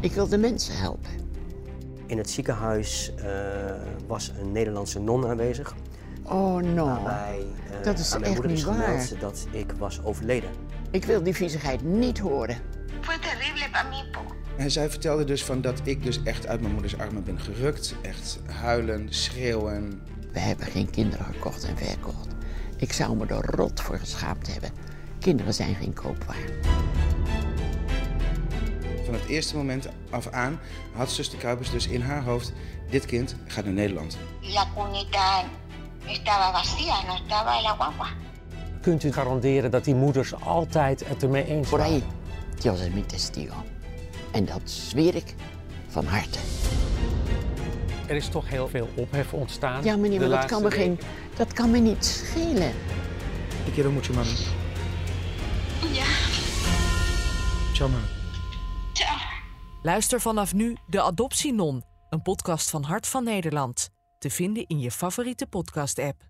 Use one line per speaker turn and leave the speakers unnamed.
Ik wil de mensen helpen.
In het ziekenhuis eh, was een Nederlandse non aanwezig.
Oh, nou.
Bij, eh,
Dat is
aan mijn
echt
moeder is
niet waar.
gemeld dat ik was overleden.
Ik wil die viezigheid niet horen.
Fue terrible para mí. po.
En zij vertelde dus van dat ik dus echt uit mijn moeders armen ben gerukt. Echt huilen, schreeuwen.
We hebben geen kinderen gekocht en verkocht. Ik zou me er rot voor geschaamd hebben. Kinderen zijn geen koopwaar.
Van het eerste moment af aan had zuster Kuipers dus in haar hoofd... dit kind gaat naar Nederland.
Y la cunita estaba vacía, no estaba la guagua.
Kunt u garanderen dat die moeders altijd het ermee eens
Por ahí,
waren?
Dios es mi testigo. En dat zweer ik van harte.
Er is toch heel veel ophef ontstaan.
Ja, meneer,
de
maar dat kan, me
laatste
geen, dat kan me niet schelen.
Te quiero mucho, mami.
Ya.
Chao, mami.
Chao.
Luister vanaf nu De Adoptie Non, een podcast van Hart van Nederland. Te vinden in je favoriete podcast-app.